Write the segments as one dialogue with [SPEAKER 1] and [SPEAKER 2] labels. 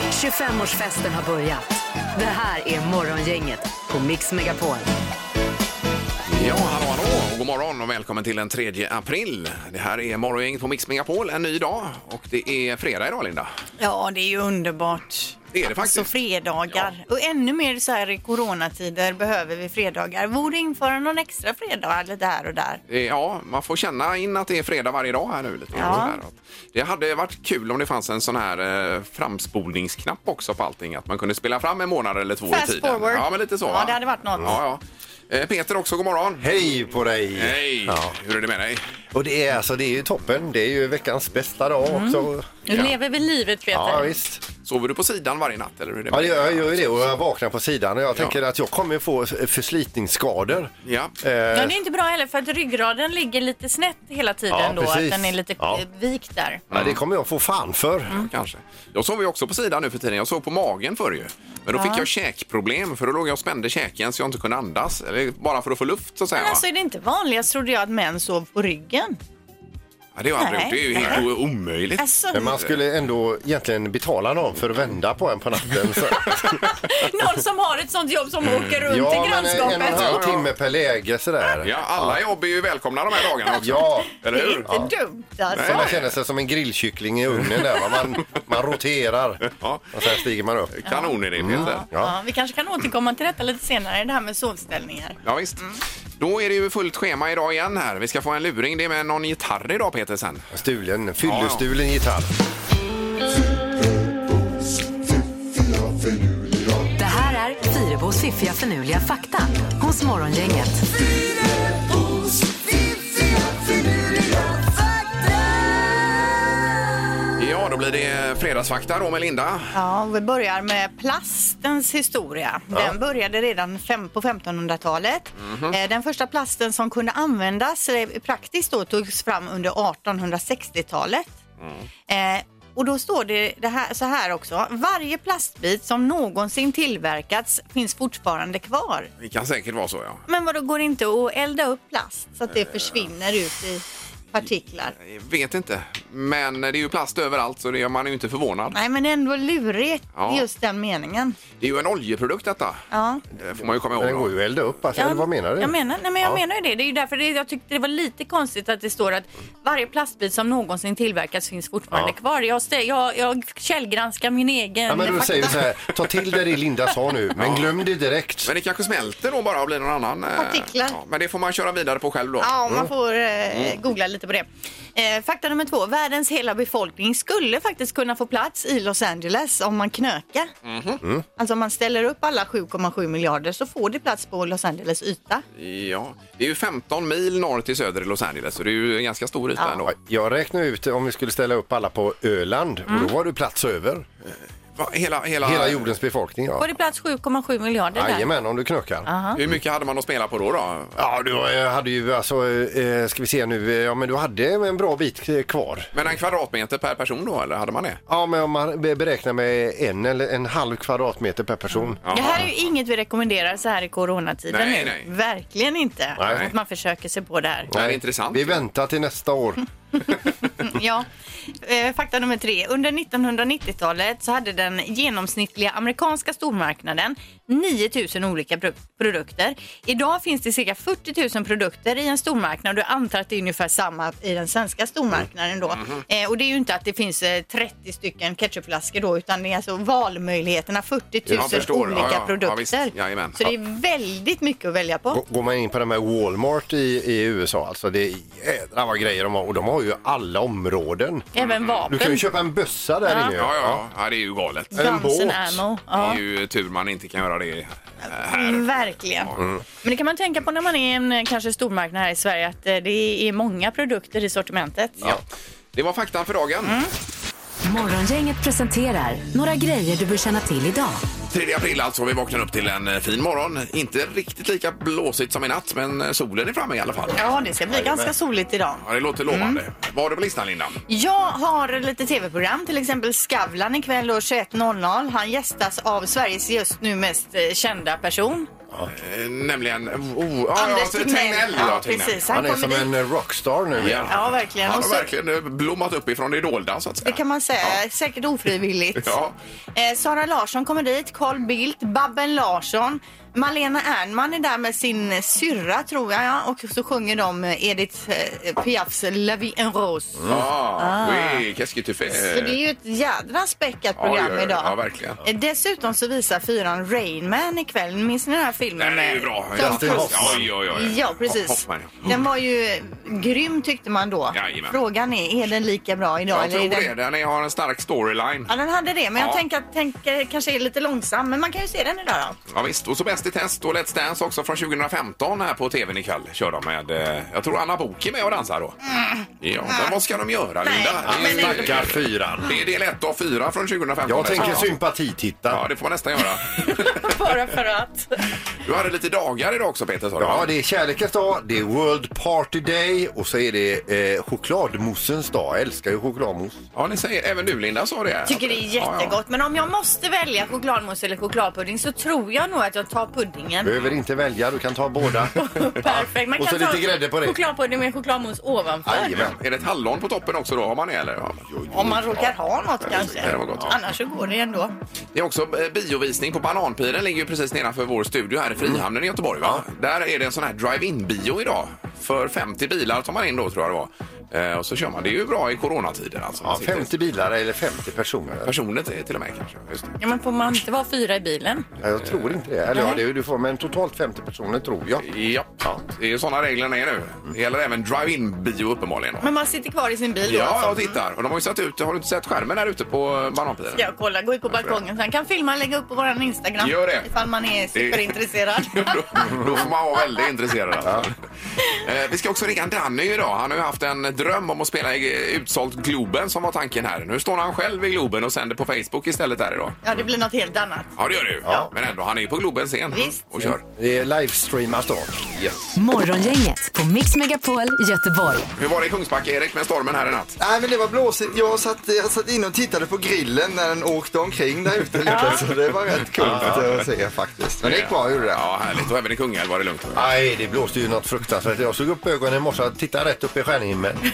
[SPEAKER 1] 25-årsfesten har börjat. Det här är Morgongänget på Mix Megapol.
[SPEAKER 2] Ja, hallå, hallå och god morgon och välkommen till den 3 april. Det här är Morgongänget på Mix Megapol, en ny dag och det är fredag idag Linda.
[SPEAKER 3] Ja, det är ju underbart.
[SPEAKER 2] Det är det faktiskt.
[SPEAKER 3] Alltså fredagar. Och ännu mer så här i coronatider behöver vi fredagar. Borde införa någon extra fredag lite här och där.
[SPEAKER 2] Eh, Ja, man får känna in att det är fredag varje dag här nu. Lite
[SPEAKER 3] Ja.
[SPEAKER 2] sådär. Det hade varit kul om det fanns en sån här eh, framspolningsknapp också på allting. Att man kunde spela fram en månad eller två i
[SPEAKER 3] Fast
[SPEAKER 2] tiden.
[SPEAKER 3] forward.
[SPEAKER 2] Ja, men lite så.
[SPEAKER 3] Ja,
[SPEAKER 2] va?
[SPEAKER 3] det hade varit något.
[SPEAKER 2] Ja, ja. Eh, Peter också, god morgon.
[SPEAKER 4] Hej på dig!
[SPEAKER 2] Hej!
[SPEAKER 4] Ja.
[SPEAKER 2] Hur är det med dig?
[SPEAKER 4] Och det är, alltså, det är ju toppen. Det är ju veckans bästa dag
[SPEAKER 5] Mm.
[SPEAKER 4] också.
[SPEAKER 5] Nu lever vi livet, Peter.
[SPEAKER 4] Ja, visst.
[SPEAKER 2] Sover du på sidan varje natt? Eller hur är det
[SPEAKER 4] Ja,
[SPEAKER 2] med
[SPEAKER 4] det
[SPEAKER 2] dig?
[SPEAKER 4] gör- jag gör ju det och jag vaknar på sidan och jag tänker att jag kommer få förslitningsskador.
[SPEAKER 2] Ja.
[SPEAKER 4] Eh,
[SPEAKER 5] Ja, det är inte bra heller för att ryggraden ligger lite snett hela tiden
[SPEAKER 4] Ja,
[SPEAKER 5] då.
[SPEAKER 4] precis.
[SPEAKER 5] Att den är lite
[SPEAKER 4] Ja.
[SPEAKER 5] eh, vikt där.
[SPEAKER 4] ja, det kommer jag få fan för.
[SPEAKER 5] Mm.
[SPEAKER 2] Kanske. Jag sover ju också på sidan nu för tiden. Jag sov på magen förr ju. Men då fick jag käkproblem för då låg jag och spände käken så jag inte kunde andas. Eller bara för att få luft så att säga.
[SPEAKER 3] Men
[SPEAKER 2] va?
[SPEAKER 3] alltså är det inte vanligast trodde jag att män sov på ryggen.
[SPEAKER 2] Ja, det har jag aldrig gjort.
[SPEAKER 3] Nej.
[SPEAKER 2] Det är ju helt o- omöjligt.
[SPEAKER 3] Alltså,
[SPEAKER 4] Men man skulle ändå egentligen betala någon för att vända på en på natten. Så.
[SPEAKER 5] Någon som har ett sånt jobb som åker runt i
[SPEAKER 4] Mm. men eh, en och en
[SPEAKER 5] grannskapet.
[SPEAKER 4] halv timme per läge sådär.
[SPEAKER 2] Ja, alla jobb är ju välkomna de här dagarna också.
[SPEAKER 4] Ja.
[SPEAKER 2] Eller hur?
[SPEAKER 3] det är inte dumt alltså.
[SPEAKER 4] Nej, man känner sig som en grillkyckling i ugnen där. va? Man, man roterar
[SPEAKER 2] Ja.
[SPEAKER 4] och sen stiger man upp.
[SPEAKER 2] Kanon är det, Peter.
[SPEAKER 4] Ja.
[SPEAKER 3] Ja, vi kanske kan återkomma till detta lite senare, det här med sovställningar.
[SPEAKER 2] Ja, visst. Då är det ju fullt schema idag igen här. Vi ska få en luring. Det är med någon gitarr idag, Peter, sen.
[SPEAKER 4] Stulen, fyllestulen gitarr.
[SPEAKER 1] Det här är Fyrebos fiffiga förnuliga fakta hos Morgongänget.
[SPEAKER 2] Ja, då blir det fredagsfakta då med Linda.
[SPEAKER 3] Ja, och vi börjar med plastens historia. Den började redan fem, på 1500-talet. Eh, Den första plasten som kunde användas eh, praktiskt då, togs fram under 1860-talet. Eh, och då står det, det här, så här också. Varje plastbit som någonsin tillverkats finns fortfarande kvar.
[SPEAKER 2] Det kan säkert vara så, ja.
[SPEAKER 3] Men vadå, går det inte att elda upp plast så att det försvinner ut i partiklar?
[SPEAKER 2] Jag vet inte. Men det är ju plast överallt så det gör man ju inte förvånad.
[SPEAKER 3] Nej, men ändå lurigt
[SPEAKER 2] Ja.
[SPEAKER 3] just den meningen.
[SPEAKER 2] Det är ju en oljeprodukt detta.
[SPEAKER 3] Ja.
[SPEAKER 2] Det får man ju komma
[SPEAKER 4] Men den
[SPEAKER 2] ihåg.
[SPEAKER 4] går
[SPEAKER 2] då.
[SPEAKER 4] ju att elda upp. Alltså, eller vad menar du?
[SPEAKER 5] Jag menar, nej men jag
[SPEAKER 4] Ja.
[SPEAKER 5] menar ju det. Det är ju därför det, jag tyckte det var lite konstigt att det står att varje plastbit som någonsin tillverkats finns fortfarande kvar. Jag, stä- jag, jag källgranskar min egen.
[SPEAKER 4] Ja, men då säger vi så här, ta till dig det Linda sa nu, men glöm det direkt.
[SPEAKER 2] Men det kanske smälter då bara och blir någon annan. eh,
[SPEAKER 3] Partiklar.
[SPEAKER 2] Ja, men det får man köra vidare på själv då.
[SPEAKER 3] Ja,
[SPEAKER 4] Mm.
[SPEAKER 3] man får eh, googla lite på det. Eh, fakta nummer två. Världens hela befolkning skulle faktiskt kunna få plats i Los Angeles om man knökar.
[SPEAKER 4] Mhm.
[SPEAKER 3] Alltså om man ställer upp alla 7,7 miljarder så får det plats på Los Angeles yta.
[SPEAKER 2] Ja. Det är ju 15 mil norr till söder i Los Angeles så det är ju en ganska stor yta ändå.
[SPEAKER 4] Jag räknar ut om vi skulle ställa upp alla på Öland
[SPEAKER 5] Mm.
[SPEAKER 4] och då var du plats över
[SPEAKER 2] Va, hela, hela,
[SPEAKER 4] hela jordens befolkning.
[SPEAKER 5] Var
[SPEAKER 4] Ja.
[SPEAKER 5] det plats 7,7 miljarder där?
[SPEAKER 4] Jajamän, om du knökar.
[SPEAKER 2] Hur mycket hade man att spela på då? då?
[SPEAKER 4] Ja, du eh, hade ju alltså, eh, ska vi se nu, eh, ja men du hade en bra bit eh, kvar.
[SPEAKER 2] Men en kvadratmeter per person då eller hade man det?
[SPEAKER 4] Ja, men om man be- beräknar med en eller en halv kvadratmeter per person.
[SPEAKER 2] Ja.
[SPEAKER 3] Det här är ju inget vi rekommenderar så här i coronatiden
[SPEAKER 2] Nej,
[SPEAKER 3] nu.
[SPEAKER 2] nej.
[SPEAKER 3] Verkligen inte.
[SPEAKER 4] Nej.
[SPEAKER 3] Att man försöker sig på det här.
[SPEAKER 2] Det här är intressant.
[SPEAKER 4] Vi väntar till nästa år.
[SPEAKER 3] Ja. Eh, Fakta nummer tre. Under 1990-talet så hade den genomsnittliga amerikanska stormarknaden 9 000 olika pro- produkter. Idag finns det cirka 40 000 produkter i en stormarknad och jag antar att det är ungefär samma i den svenska stormarknaden då.
[SPEAKER 2] Mm, mhm.
[SPEAKER 3] Eh, och det är ju inte att det finns eh, 30 stycken ketchupflaskor då utan det är alltså valmöjligheterna 40 000
[SPEAKER 2] Jag förstår. Ja,
[SPEAKER 3] olika
[SPEAKER 2] ja. Ja, visst.
[SPEAKER 3] produkter.
[SPEAKER 2] Jajamän.
[SPEAKER 3] så det är väldigt mycket att välja på.
[SPEAKER 4] Gå- Går man in på de här Walmart i, i USA, alltså det är jädrar vad grejer de har och de har ju alla områden.
[SPEAKER 2] Mm.
[SPEAKER 5] Även
[SPEAKER 4] Du
[SPEAKER 5] vapen.
[SPEAKER 4] kan ju köpa en bössa där inne. ju.
[SPEAKER 2] Ja, ja, ja. ja, det är ju galet.
[SPEAKER 4] en
[SPEAKER 5] Guns and
[SPEAKER 4] båt.
[SPEAKER 5] ammo.
[SPEAKER 2] Det
[SPEAKER 5] Ja.
[SPEAKER 2] är ju tur man inte kan göra det eh, här. Mm.
[SPEAKER 3] Verkligen.
[SPEAKER 5] Men det kan man tänka på när man är i en eh, kanske stormarknad här i Sverige att eh, det är många produkter i sortimentet.
[SPEAKER 2] Ja. Det var faktan för dagen.
[SPEAKER 3] Mm.
[SPEAKER 1] Morgongänget presenterar några grejer du bör känna till idag.
[SPEAKER 2] 3 april alltså, vi vaknar upp till en eh, fin morgon. Inte riktigt lika blåsigt som i natt, men eh, solen är framme i alla fall.
[SPEAKER 3] Ja, det ska bli ganska soligt idag.
[SPEAKER 2] Ja, det låter lovande.
[SPEAKER 3] Mm.
[SPEAKER 2] Vad har du på listan, Linda?
[SPEAKER 3] Jag har lite tv-program, till exempel Skavlan ikväll då 21.00. Han gästas av Sveriges just nu mest eh, kända person.
[SPEAKER 2] Eh, Nämligen... Oh, oh, ja,
[SPEAKER 3] Anders
[SPEAKER 2] ja,
[SPEAKER 3] Tegnell.
[SPEAKER 2] Ja,
[SPEAKER 3] Ja,
[SPEAKER 2] Tegnell.
[SPEAKER 3] precis.
[SPEAKER 4] Han
[SPEAKER 3] Han
[SPEAKER 4] är
[SPEAKER 3] kommer
[SPEAKER 4] som
[SPEAKER 3] dit.
[SPEAKER 4] en eh, rockstar nu.
[SPEAKER 2] Ja.
[SPEAKER 3] Ja, verkligen.
[SPEAKER 2] Han
[SPEAKER 3] Och
[SPEAKER 2] har
[SPEAKER 3] så-
[SPEAKER 2] verkligen eh, blommat upp ifrån det dolda så att säga.
[SPEAKER 3] Det kan man säga. Säkert ofrivilligt.
[SPEAKER 2] Ja.
[SPEAKER 3] Eh, Sara Larsson kommer dit, Carl Bildt, Babben Larsson. Malena Ernman är där med sin syrra, tror jag. Ja. Och så sjunger de Edith eh, Piafs La vie en rose.
[SPEAKER 2] Ja, oui, qu'est-ce que tu fais?
[SPEAKER 3] Mm. Ah. Så det är ju ett jädra späckat
[SPEAKER 2] Ja,
[SPEAKER 3] program
[SPEAKER 2] ja, ja,
[SPEAKER 3] idag.
[SPEAKER 2] ja, verkligen.
[SPEAKER 3] Eh, Dessutom så visar fyran Rain Man ikväll. Minns ni den här filmen?
[SPEAKER 2] Den är ju
[SPEAKER 3] med
[SPEAKER 2] bra.
[SPEAKER 3] Tom
[SPEAKER 4] Dustin
[SPEAKER 3] Cruise?
[SPEAKER 4] Hoffman.
[SPEAKER 2] Oj, oj, oj.
[SPEAKER 3] Ja, precis.
[SPEAKER 2] Hoffman, ja.
[SPEAKER 3] Den var ju eh, grym tyckte man då.
[SPEAKER 2] Jajamän.
[SPEAKER 3] Frågan är, är den lika bra idag?
[SPEAKER 2] Jag
[SPEAKER 3] eller
[SPEAKER 2] tror
[SPEAKER 3] är den...
[SPEAKER 2] det. Den är- har en stark storyline.
[SPEAKER 3] Ja, den hade det, men
[SPEAKER 2] Ja.
[SPEAKER 3] jag tänker att tänker, kanske är lite långsam. Men man kan ju se den idag då.
[SPEAKER 2] Ja, visst. Och så Bäst i test och Let's Dance också från 2015 här på tvn ikväll. Kör de med, eh, jag tror Anna Book är med och dansar då. Ja, men vad ska de göra
[SPEAKER 3] Mm. Nej,
[SPEAKER 2] Linda?
[SPEAKER 3] ja,
[SPEAKER 2] Det är ju
[SPEAKER 3] men-
[SPEAKER 2] stackars-
[SPEAKER 4] Stackar fyran.
[SPEAKER 2] Det är del 1 av 4 från 2015. dessutom.
[SPEAKER 4] Jag
[SPEAKER 2] Ja.
[SPEAKER 4] tänker
[SPEAKER 2] Ja,
[SPEAKER 4] sympatititta.
[SPEAKER 2] det får man nästan göra.
[SPEAKER 3] Bara för att.
[SPEAKER 2] Du hade lite dagar idag också Peter sa du.
[SPEAKER 4] Ja, det är kärlekens dag, det är World Party Day och så är det eh, chokladmoussens dag. Jag älskar ju chokladmousse.
[SPEAKER 2] ja, ni säger, även du Linda sa det.
[SPEAKER 6] tycker det är jättegott. Men om jag måste välja chokladmousse eller chokladpudding så tror jag nog att jag tar puddingen.
[SPEAKER 4] Behöver inte välja, du kan ta båda.
[SPEAKER 6] Perfekt. Man
[SPEAKER 4] Och så
[SPEAKER 6] kan ta
[SPEAKER 4] lite grädde på det.
[SPEAKER 6] Chokladpudding med chokladmousse ovanför.
[SPEAKER 4] Jajamän.
[SPEAKER 2] Är det ett hallon på toppen också då? Har man det eller? Ja.
[SPEAKER 3] Om man råkar ha något kanske.
[SPEAKER 2] det var gott.
[SPEAKER 3] Annars så går det ändå.
[SPEAKER 2] Det är också eh, biovisning på Bananpiren. ligger ju precis nedanför vår studio här i Frihamnen i Göteborg. Va? Där är det en sån här drive-in-bio idag. För 50 bilar tar man in då tror jag det var. Eh, Och så kör man. Det är ju bra i coronatider alltså. Man
[SPEAKER 4] Ja,
[SPEAKER 2] sitter-
[SPEAKER 4] 50 bilar eller 50 personer.
[SPEAKER 2] Personer till till och med kanske. Just det.
[SPEAKER 6] Ja, men får man inte vara fyra i bilen?
[SPEAKER 4] Ja, jag tror inte det. Eller ja, det är ju du får, men totalt 50 personer tror jag.
[SPEAKER 2] Ja, det är ju såna reglerna är nu.
[SPEAKER 4] Mm.
[SPEAKER 2] Det gäller även drive-in-bio uppenbarligen. då.
[SPEAKER 3] Men man sitter kvar i sin bil då
[SPEAKER 2] Ja,
[SPEAKER 3] alltså.
[SPEAKER 2] jag tittar. Och de har ju satt ut, har du inte sett skärmen där ute på Bananpiren?
[SPEAKER 3] Ska jag kolla, gå ut på balkongen. Sen kan filma och lägga upp på våran Instagram.
[SPEAKER 2] Gör det.
[SPEAKER 3] Ifall man är superintresserad.
[SPEAKER 2] då, då får man vara väldigt intresserad. Alltså. Eh, vi ska också ringa Danny idag. Han har ju haft en dröm om att spela i eh, utsålt Globen som var tanken här. Nu står han själv i Globen och sänder på Facebook istället där idag.
[SPEAKER 3] Ja, det blir något helt annat.
[SPEAKER 2] Ja, det gör det ju. Men ändå, han är ju på Globen scen
[SPEAKER 3] Visst.
[SPEAKER 2] och kör.
[SPEAKER 4] Det är livestreamas då.
[SPEAKER 1] Morgongänget på Mix Megapol Göteborg.
[SPEAKER 2] Hur var det i Kungsbacka, Erik, med stormen här i natt?
[SPEAKER 7] Nej men det var blåsigt. Jag satt, jag satt inne och tittade på grillen när den åkte omkring där ute lite. Så det var rätt kul att se faktiskt. Men det gick bra gjorde det.
[SPEAKER 2] Ja, härligt. Och även i Kungälv var det lugnt.
[SPEAKER 4] Nej, det blåste ju något fruktansvärt. Jag såg upp ögonen i morse och tittade rätt upp i stjärnhimlen.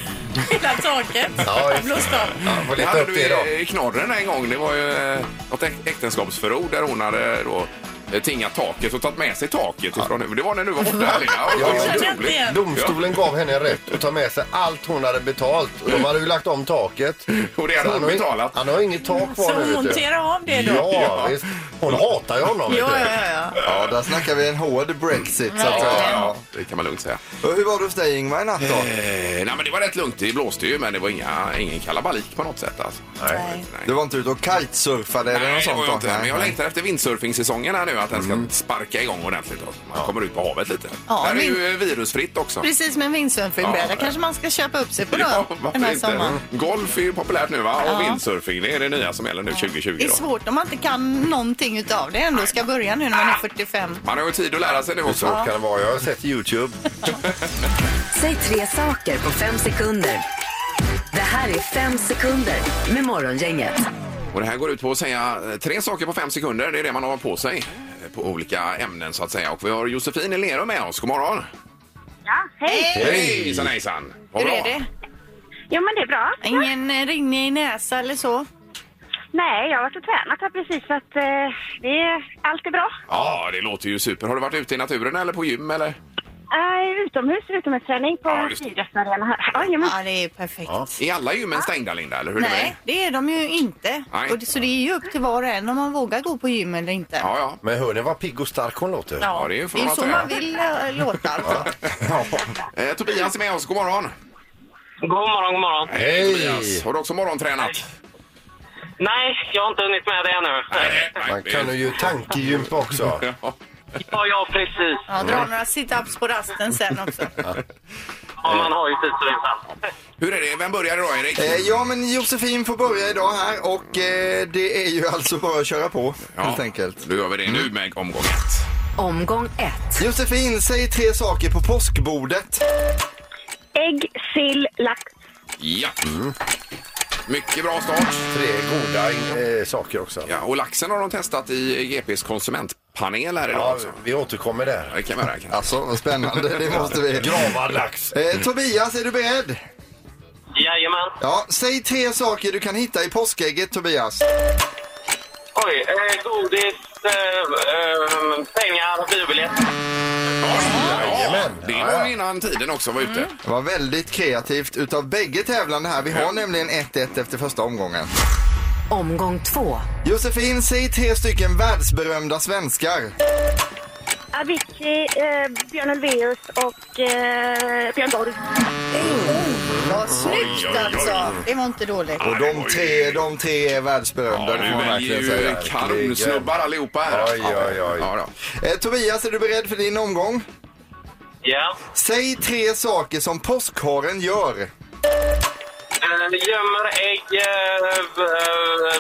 [SPEAKER 6] Hela taket.
[SPEAKER 4] Ja, just det.
[SPEAKER 6] Blåst av.
[SPEAKER 4] Ja, jag får
[SPEAKER 2] Det
[SPEAKER 4] leta
[SPEAKER 2] hade
[SPEAKER 4] upp
[SPEAKER 2] du
[SPEAKER 4] det idag.
[SPEAKER 2] i- i knorren en gång. Det var ju eh, något äk- äktenskapsförord där hon hade då eh, tingat taket och tagit med sig taket ifrån Det var när du var borta, Linda. Ja, det var
[SPEAKER 4] Jag
[SPEAKER 2] helt
[SPEAKER 6] känner
[SPEAKER 2] otroligt.
[SPEAKER 6] igen.
[SPEAKER 4] Domstolen gav henne rätt att ta med sig allt hon hade betalt. Och de hade ju lagt om taket.
[SPEAKER 2] Och det hade
[SPEAKER 4] Så
[SPEAKER 2] hon
[SPEAKER 4] han har ju-
[SPEAKER 2] betalat.
[SPEAKER 4] Han har ju inget tak kvar
[SPEAKER 6] Så
[SPEAKER 4] nu.
[SPEAKER 6] hon
[SPEAKER 4] vet du.
[SPEAKER 6] monterar av det då?
[SPEAKER 4] Ja, visst. Hon hatar ju honom.
[SPEAKER 3] Ja,
[SPEAKER 4] vet du.
[SPEAKER 3] ja, ja.
[SPEAKER 7] Ja, där snackar vi en hård Brexit. Så att,
[SPEAKER 2] Ja,
[SPEAKER 7] säga.
[SPEAKER 2] ja, det kan man lugnt säga.
[SPEAKER 7] Och Hur var det hos dig Ingmar i natt då?
[SPEAKER 2] Eh, nej, men det var rätt lugnt. Det blåste ju, men det var inga, ingen kalabalik på något sätt. Alltså. Nej.
[SPEAKER 7] Du var inte ute och kitesurfade eller
[SPEAKER 2] Nej,
[SPEAKER 7] något
[SPEAKER 2] det var
[SPEAKER 7] sånt?
[SPEAKER 2] jag
[SPEAKER 7] då?
[SPEAKER 2] inte. Men jag längtar efter windsurfingsäsongen här nu, att den ska sparka igång ordentligt. Då. Man kommer ut på havet lite.
[SPEAKER 3] Ja,
[SPEAKER 2] här är
[SPEAKER 3] men-
[SPEAKER 2] ju eh, virusfritt också.
[SPEAKER 3] Precis med en
[SPEAKER 2] Ja,
[SPEAKER 3] windsurfingbräda
[SPEAKER 2] ja.
[SPEAKER 3] kanske man ska köpa upp sig på då,
[SPEAKER 2] Ja,
[SPEAKER 3] den
[SPEAKER 2] varför
[SPEAKER 3] här
[SPEAKER 2] inte?
[SPEAKER 3] sommaren.
[SPEAKER 2] Golf är ju populärt nu va? och windsurfing. Det är det nya som gäller nu 2020.
[SPEAKER 3] Det är
[SPEAKER 2] då.
[SPEAKER 3] svårt om man inte kan någonting utav det ändå ska börja nu när man är 45.
[SPEAKER 2] Man har ju tid att lära sig nu
[SPEAKER 4] Hur
[SPEAKER 2] också.
[SPEAKER 4] svårt kan det vara? Jag har sett Youtube.
[SPEAKER 1] Säg tre saker på fem sekunder. Det här är fem sekunder med Morgongänget.
[SPEAKER 2] Och det här går ut på att säga eh, tre saker på fem sekunder. Det är det man har på sig eh, på olika ämnen så att säga. Och vi har Josefin i Lerum med oss. God morgon!
[SPEAKER 8] Ja, hej!
[SPEAKER 2] Hej! Hejsan hejsan! Vad
[SPEAKER 3] Hur
[SPEAKER 2] bra.
[SPEAKER 3] är det?
[SPEAKER 8] Jo, men det är bra.
[SPEAKER 3] Ingen eh, ringe i näsa eller så?
[SPEAKER 8] Nej, jag har varit och tränat här precis, så att eh, det är, allt är bra.
[SPEAKER 2] Ja, det låter ju super. Har du varit ute i naturen eller på gym eller?
[SPEAKER 8] Eh, utomhus, utomhusträning på
[SPEAKER 2] Ja, just det.
[SPEAKER 8] Sydvästarena här. Jajamän.
[SPEAKER 3] Ja, det är perfekt.
[SPEAKER 2] Är alla gymmen stängda Linda? Eller hur är det med
[SPEAKER 3] Nej, det är de ju inte.
[SPEAKER 2] Nej.
[SPEAKER 3] Och det, så det är ju upp till var och en om man vågar gå på gym eller inte.
[SPEAKER 2] det? Ja, ja.
[SPEAKER 4] Men hör ni vad pigg och stark hon låter?
[SPEAKER 2] ja det är ju
[SPEAKER 3] Det är ju så man
[SPEAKER 2] förvånansvärt.
[SPEAKER 3] vill eh, låta alltså.
[SPEAKER 2] Eh, Tobias är med oss. God morgon!
[SPEAKER 9] God morgon, god morgon.
[SPEAKER 4] Hej!
[SPEAKER 2] Tobias, har du också morgontränat?
[SPEAKER 9] Nej, jag har inte hunnit med det ännu.
[SPEAKER 4] Man kan ju tankegympa också.
[SPEAKER 2] Ja.
[SPEAKER 9] Ja, ja, precis.
[SPEAKER 3] Ja, dra några sit-ups på rasten sen också.
[SPEAKER 9] Ja, man har ju tid för det sen.
[SPEAKER 2] Hur är det? Vem börjar idag Erik?
[SPEAKER 7] Eh, Ja men Josefin får börja idag här och eh, det är ju alltså bara att köra på helt enkelt.
[SPEAKER 2] Då gör vi det nu
[SPEAKER 4] Mm.
[SPEAKER 2] med omgång ett.
[SPEAKER 1] Omgång ett.
[SPEAKER 7] Josefin, säg tre saker på påskbordet.
[SPEAKER 8] Ägg, sill, lax.
[SPEAKER 2] Ja.
[SPEAKER 4] Mm.
[SPEAKER 2] Mycket bra start.
[SPEAKER 4] Tre goda eh, saker också.
[SPEAKER 2] Ja, och laxen har de testat i GPs konsument panel här idag.
[SPEAKER 4] Ja,
[SPEAKER 2] Alltså.
[SPEAKER 4] vi återkommer där.
[SPEAKER 2] Det kan vi göra. kan vi.
[SPEAKER 7] Alltså, vad spännande. Det måste vi.
[SPEAKER 4] Gravad lax.
[SPEAKER 7] Eh, Tobias, är du beredd?
[SPEAKER 9] Jajamän.
[SPEAKER 7] Ja, säg tre saker du kan hitta i påskägget, Tobias.
[SPEAKER 9] Oj, eh, godis, eh, eh, pengar, biobiljett.
[SPEAKER 2] Ja,
[SPEAKER 4] Jajamän.
[SPEAKER 2] det
[SPEAKER 4] Ja,
[SPEAKER 2] var ju innan tiden också var ute.
[SPEAKER 7] Det var väldigt kreativt utav bägge tävlande här. Vi har nämligen 1-1 efter första omgången.
[SPEAKER 1] Omgång två.
[SPEAKER 7] Josefin, säg tre stycken världsberömda svenskar.
[SPEAKER 8] Avicii, eh, Björn Ulvaeus och eh, Björn Borg.
[SPEAKER 3] Vad snyggt alltså! Det var inte dåligt.
[SPEAKER 7] Och de tre, de tre är världsberömda.
[SPEAKER 2] Ja,
[SPEAKER 7] det
[SPEAKER 2] nu
[SPEAKER 7] får man
[SPEAKER 2] är
[SPEAKER 7] verkligen
[SPEAKER 2] ju
[SPEAKER 7] säga.
[SPEAKER 2] kanonsnubbar allihopa här.
[SPEAKER 4] Oj, oj, oj.
[SPEAKER 2] Ja, då.
[SPEAKER 7] Eh, Tobias, är du beredd för din omgång?
[SPEAKER 9] Ja.
[SPEAKER 7] Säg tre saker som påskharen gör.
[SPEAKER 9] Eh, gömmer ägg, eh,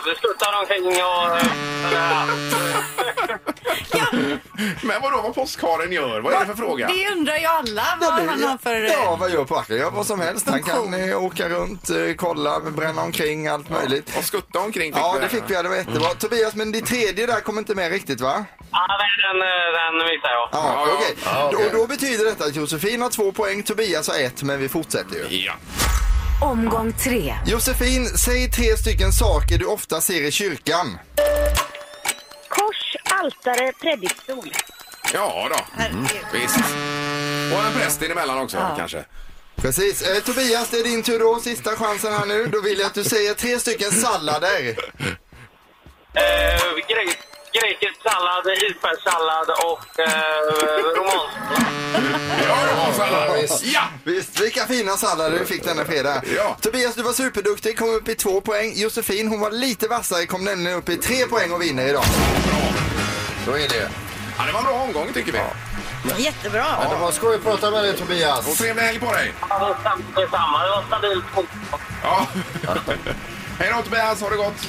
[SPEAKER 9] eh, sluttar omkring och... eh, sådär.
[SPEAKER 2] Men vadå vad påskharen gör? Vad är det för fråga?
[SPEAKER 3] Det undrar ju alla vad han har för...
[SPEAKER 7] Ja, vad gör påskharen? Gör vad som helst. Han kan eh, åka runt, eh, kolla, bränna omkring, allt möjligt.
[SPEAKER 2] Och skutta omkring
[SPEAKER 7] Ja,
[SPEAKER 2] vi
[SPEAKER 7] det
[SPEAKER 2] här.
[SPEAKER 7] fick vi. Ja, det var jättebra. Tobias, men det tredje där kom inte med riktigt, va?
[SPEAKER 9] Ja, nej, den, eh, den missar jag.
[SPEAKER 2] Ja,
[SPEAKER 7] Ja, okej.
[SPEAKER 4] ja, okej.
[SPEAKER 7] Och då betyder detta att Josefin har två poäng, Tobias har ett, men vi fortsätter ju.
[SPEAKER 2] Ja.
[SPEAKER 1] Omgång tre.
[SPEAKER 7] Josefin, säg tre stycken saker du ofta ser i kyrkan.
[SPEAKER 8] Kors, altare, predikstol.
[SPEAKER 2] ja då, visst. Och en präst inemellan också kanske.
[SPEAKER 7] Precis. Eh, Tobias, det är din tur då. Sista chansen här nu. Då vill jag att du säger tre stycken sallader.
[SPEAKER 9] Eh, grek, grekisk sallad, isbergssallad och eh, romansk.
[SPEAKER 2] Ja, det var så alla.
[SPEAKER 7] visst.
[SPEAKER 2] Ja!
[SPEAKER 7] Visst, vilka fina sallader du fick denna fredag.
[SPEAKER 2] Ja.
[SPEAKER 7] Tobias, du var superduktig, kom upp i två poäng. Josefin, hon var lite vassare, kom nämligen upp i tre poäng och vinner idag. Så är det.
[SPEAKER 2] ja, det var en bra omgång tycker vi.
[SPEAKER 3] eh, Jättebra!
[SPEAKER 4] Ja, det var skoj att prata med dig
[SPEAKER 2] Och
[SPEAKER 4] Tobias.
[SPEAKER 2] trevlig helg på dig.
[SPEAKER 9] Ja, det var sam- Detsamma, det var stabilt.
[SPEAKER 2] Ja. Hej då Tobias, ha det gott.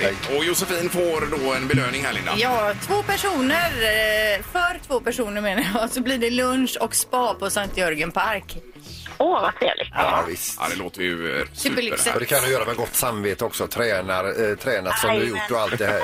[SPEAKER 2] Hej. Och Josefin får då en belöning här Linda.
[SPEAKER 3] Ja, två personer, eh, för två personer menar jag, så blir det lunch och spa på Sankt Jörgen Park.
[SPEAKER 8] Åh, vad trevligt.
[SPEAKER 4] Ja, visst.
[SPEAKER 2] Ja, det låter ju eh, super.
[SPEAKER 3] Superlyxigt.
[SPEAKER 2] här.
[SPEAKER 4] Och det kan du göra med gott samvete också. Tränar, eh, tränat som du gjort och allt det här.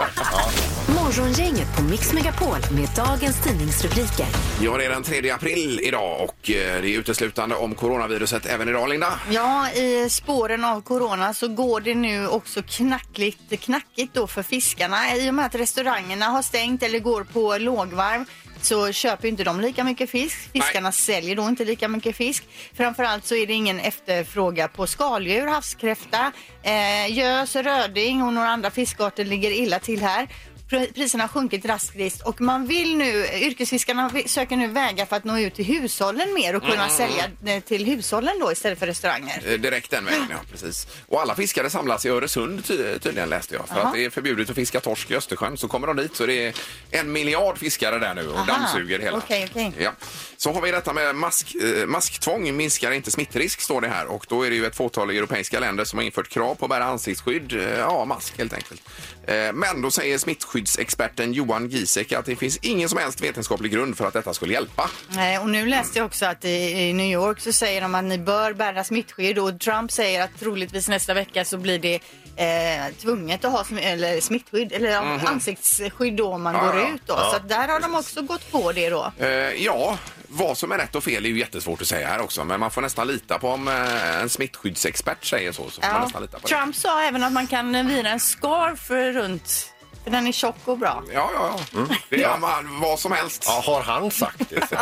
[SPEAKER 1] Morgongänget på Mix Megapol med dagens tidningsrubriker.
[SPEAKER 2] Ja, det är den 3 april idag och eh, det är uteslutande om coronaviruset även idag Linda.
[SPEAKER 3] Ja, i spåren av corona så går det nu också knackligt, knackigt då för fiskarna. I och med att restaurangerna har stängt eller går på lågvarv så köper inte de lika mycket fisk. Fiskarna säljer då inte lika mycket fisk. Framförallt så är det ingen efterfråga på skaldjur, havskräfta, eh, gös, röding och några andra fiskarter ligger illa till här. Pr- priserna har sjunkit drastiskt och man vill nu, yrkesfiskarna vi- söker nu vägar för att nå ut till hushållen mer och kunna
[SPEAKER 2] Mm.
[SPEAKER 3] sälja eh, till hushållen då istället för restauranger.
[SPEAKER 2] Eh, Direkt den vägen, ja. Precis. Och alla fiskare samlas i Öresund ty- tydligen läste jag. För att det är förbjudet att fiska torsk i Östersjön. Så kommer de dit så det är en miljard fiskare där nu och
[SPEAKER 3] Aha.
[SPEAKER 2] dammsuger hela.
[SPEAKER 3] Okej, okej.
[SPEAKER 2] Ja. Så har vi detta med mask, eh, masktvång minskar inte smittrisk står det här. Och då är det ju ett fåtal europeiska länder som har infört krav på att bära ansiktsskydd. eh, Ja, mask helt enkelt. Eh, Men då säger smittskyddsexperten Johan Giesecke att det finns ingen som helst vetenskaplig grund för att detta skulle hjälpa.
[SPEAKER 3] Nej, Eh, Och nu läste jag också att i, i New York så säger de att ni bör bära smittskydd och Trump säger att troligtvis nästa vecka så blir det eh, tvunget att ha sm- eller smittskydd eller ja, ansiktsskydd då om man
[SPEAKER 2] Mhm. Ja,
[SPEAKER 3] går
[SPEAKER 2] ja.
[SPEAKER 3] ut då. Så att där har de också gått på det då.
[SPEAKER 2] Eh, ja, vad som är rätt och fel är ju jättesvårt att säga här också. Men man får nästan lita på om eh, en smittskyddsexpert säger så. så får man
[SPEAKER 3] Ja.
[SPEAKER 2] nästan lita på
[SPEAKER 3] Trump sa även att man kan eh, vira en scarf runt, för den är tjock och bra.
[SPEAKER 2] det. Ja, ja, ja.
[SPEAKER 3] Mm.
[SPEAKER 2] Det gör man vad som helst.
[SPEAKER 4] Ja, har han sagt det?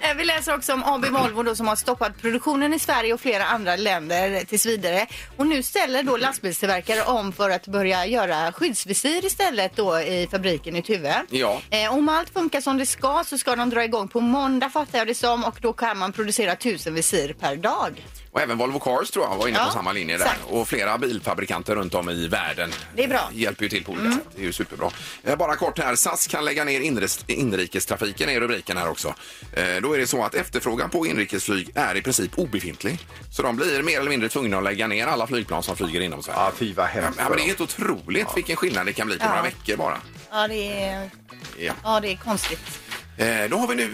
[SPEAKER 3] Eh, Vi läser också om AB Volvo då, som har stoppat produktionen i Sverige och flera andra länder tills vidare. Och nu ställer då lastbilstillverkare om för att börja göra skyddsvisir istället då i fabriken i Tuve.
[SPEAKER 2] Ja.
[SPEAKER 3] Eh, om allt funkar som det ska så ska de dra igång på måndag fattar jag det som och då kan man producera tusen visir per dag.
[SPEAKER 2] Och även Volvo Cars tror jag var inne på
[SPEAKER 3] Ja,
[SPEAKER 2] samma linje där.
[SPEAKER 3] exakt.
[SPEAKER 2] Och flera bilfabrikanter runt om i världen
[SPEAKER 3] Det är bra. Mm.
[SPEAKER 2] eh, hjälper ju till på olika sätt. Det är ju superbra. Eh, Bara kort här, SAS kan lägga ner inres- inrikestrafiken är rubriken här också. Eh, Då är det så att efterfrågan på inrikesflyg är i princip obefintlig. Så de blir mer eller mindre tvungna att lägga ner alla flygplan som flyger inom Sverige.
[SPEAKER 4] Ja, fy vad hemskt.
[SPEAKER 2] Ja, men det är helt otroligt vilken skillnad det kan bli på några veckor bara.
[SPEAKER 3] Ja det är,
[SPEAKER 2] Ja.
[SPEAKER 3] ja, det är konstigt.
[SPEAKER 2] Eh, då har vi nu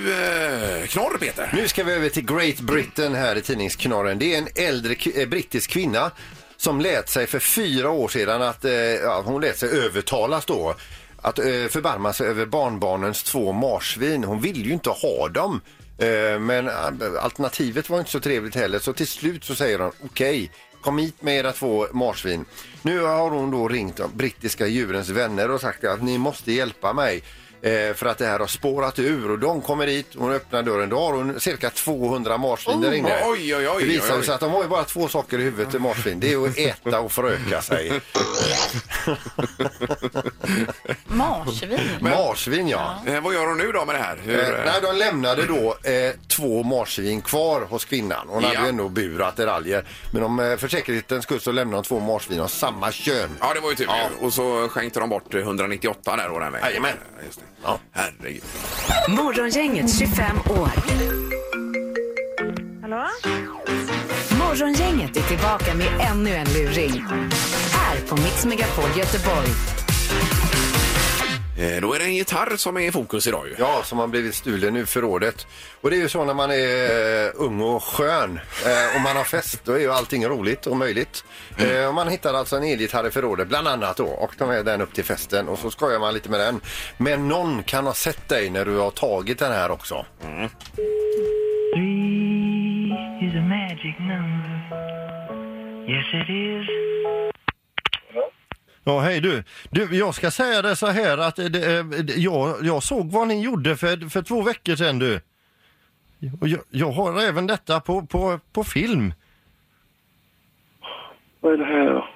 [SPEAKER 2] eh, knorr, Peter.
[SPEAKER 4] Nu ska vi över till Great Britain här i tidningsknorren. Det är en äldre k- eh, brittisk kvinna som lät sig för fyra år sedan att eh, ja, hon lät sig övertalas då
[SPEAKER 7] att eh, förbarma sig över barnbarnens två marsvin. Hon ville ju inte ha dem. Eh, men eh, alternativet var inte så trevligt heller så till slut så säger hon okej, kom hit med era två marsvin. Nu har hon då ringt de brittiska djurens vänner och sagt att ni måste hjälpa mig. eh, För att det här har spårat ur och de kommer hit och hon öppnar dörren. Då har hon cirka 200 marsvin där inne.
[SPEAKER 2] Oj, oj, oj,
[SPEAKER 7] det visar
[SPEAKER 2] oj.
[SPEAKER 7] sig att de har ju bara två saker i huvudet i marsvin. Det är att äta och föröka sig.
[SPEAKER 3] Marsvin.
[SPEAKER 7] Marsvin ja.
[SPEAKER 2] Eh, vad gör hon nu då med det här? Hur,
[SPEAKER 7] Eh, nej, de lämnade då eh, två marsvin kvar hos kvinnan. Hon
[SPEAKER 2] Ja.
[SPEAKER 7] hade ju ändå bur och attiraljer. Men om, eh, för säkerhetens skull så lämnade de två marsvin av samma kön.
[SPEAKER 2] Ja, det var ju tur. Och så skänkte de bort eh, 198 där då den veckan.
[SPEAKER 7] Jajamän.
[SPEAKER 2] Ja, Just det.
[SPEAKER 7] Ja.
[SPEAKER 2] Herregud.
[SPEAKER 1] Morgongänget 25 år.
[SPEAKER 10] Hallå?
[SPEAKER 1] Morgongänget är tillbaka med ännu en luring. Här på Mix Megapol Göteborg.
[SPEAKER 2] Eh, då är det en gitarr som är i fokus idag ju.
[SPEAKER 7] Ja, som har blivit stulen nu förrådet. Och det är ju så när man är eh, ung och skön eh, och man har fest, då är ju allting roligt och möjligt. Eh, och man hittar alltså en elgitarr i förrådet, bland annat då, och tar med den upp till festen och så skojar man lite med den. Men någon kan ha sett dig när du har tagit den här också.
[SPEAKER 11] Three is a magic number. Yes, it is.
[SPEAKER 4] Ja, hej du. du. Jag ska säga det så här att eh, det, eh, det- jag, jag såg vad ni gjorde för, för två veckor sedan du. Och jag, jag har även detta på, på, på film.
[SPEAKER 11] Vad är det här då?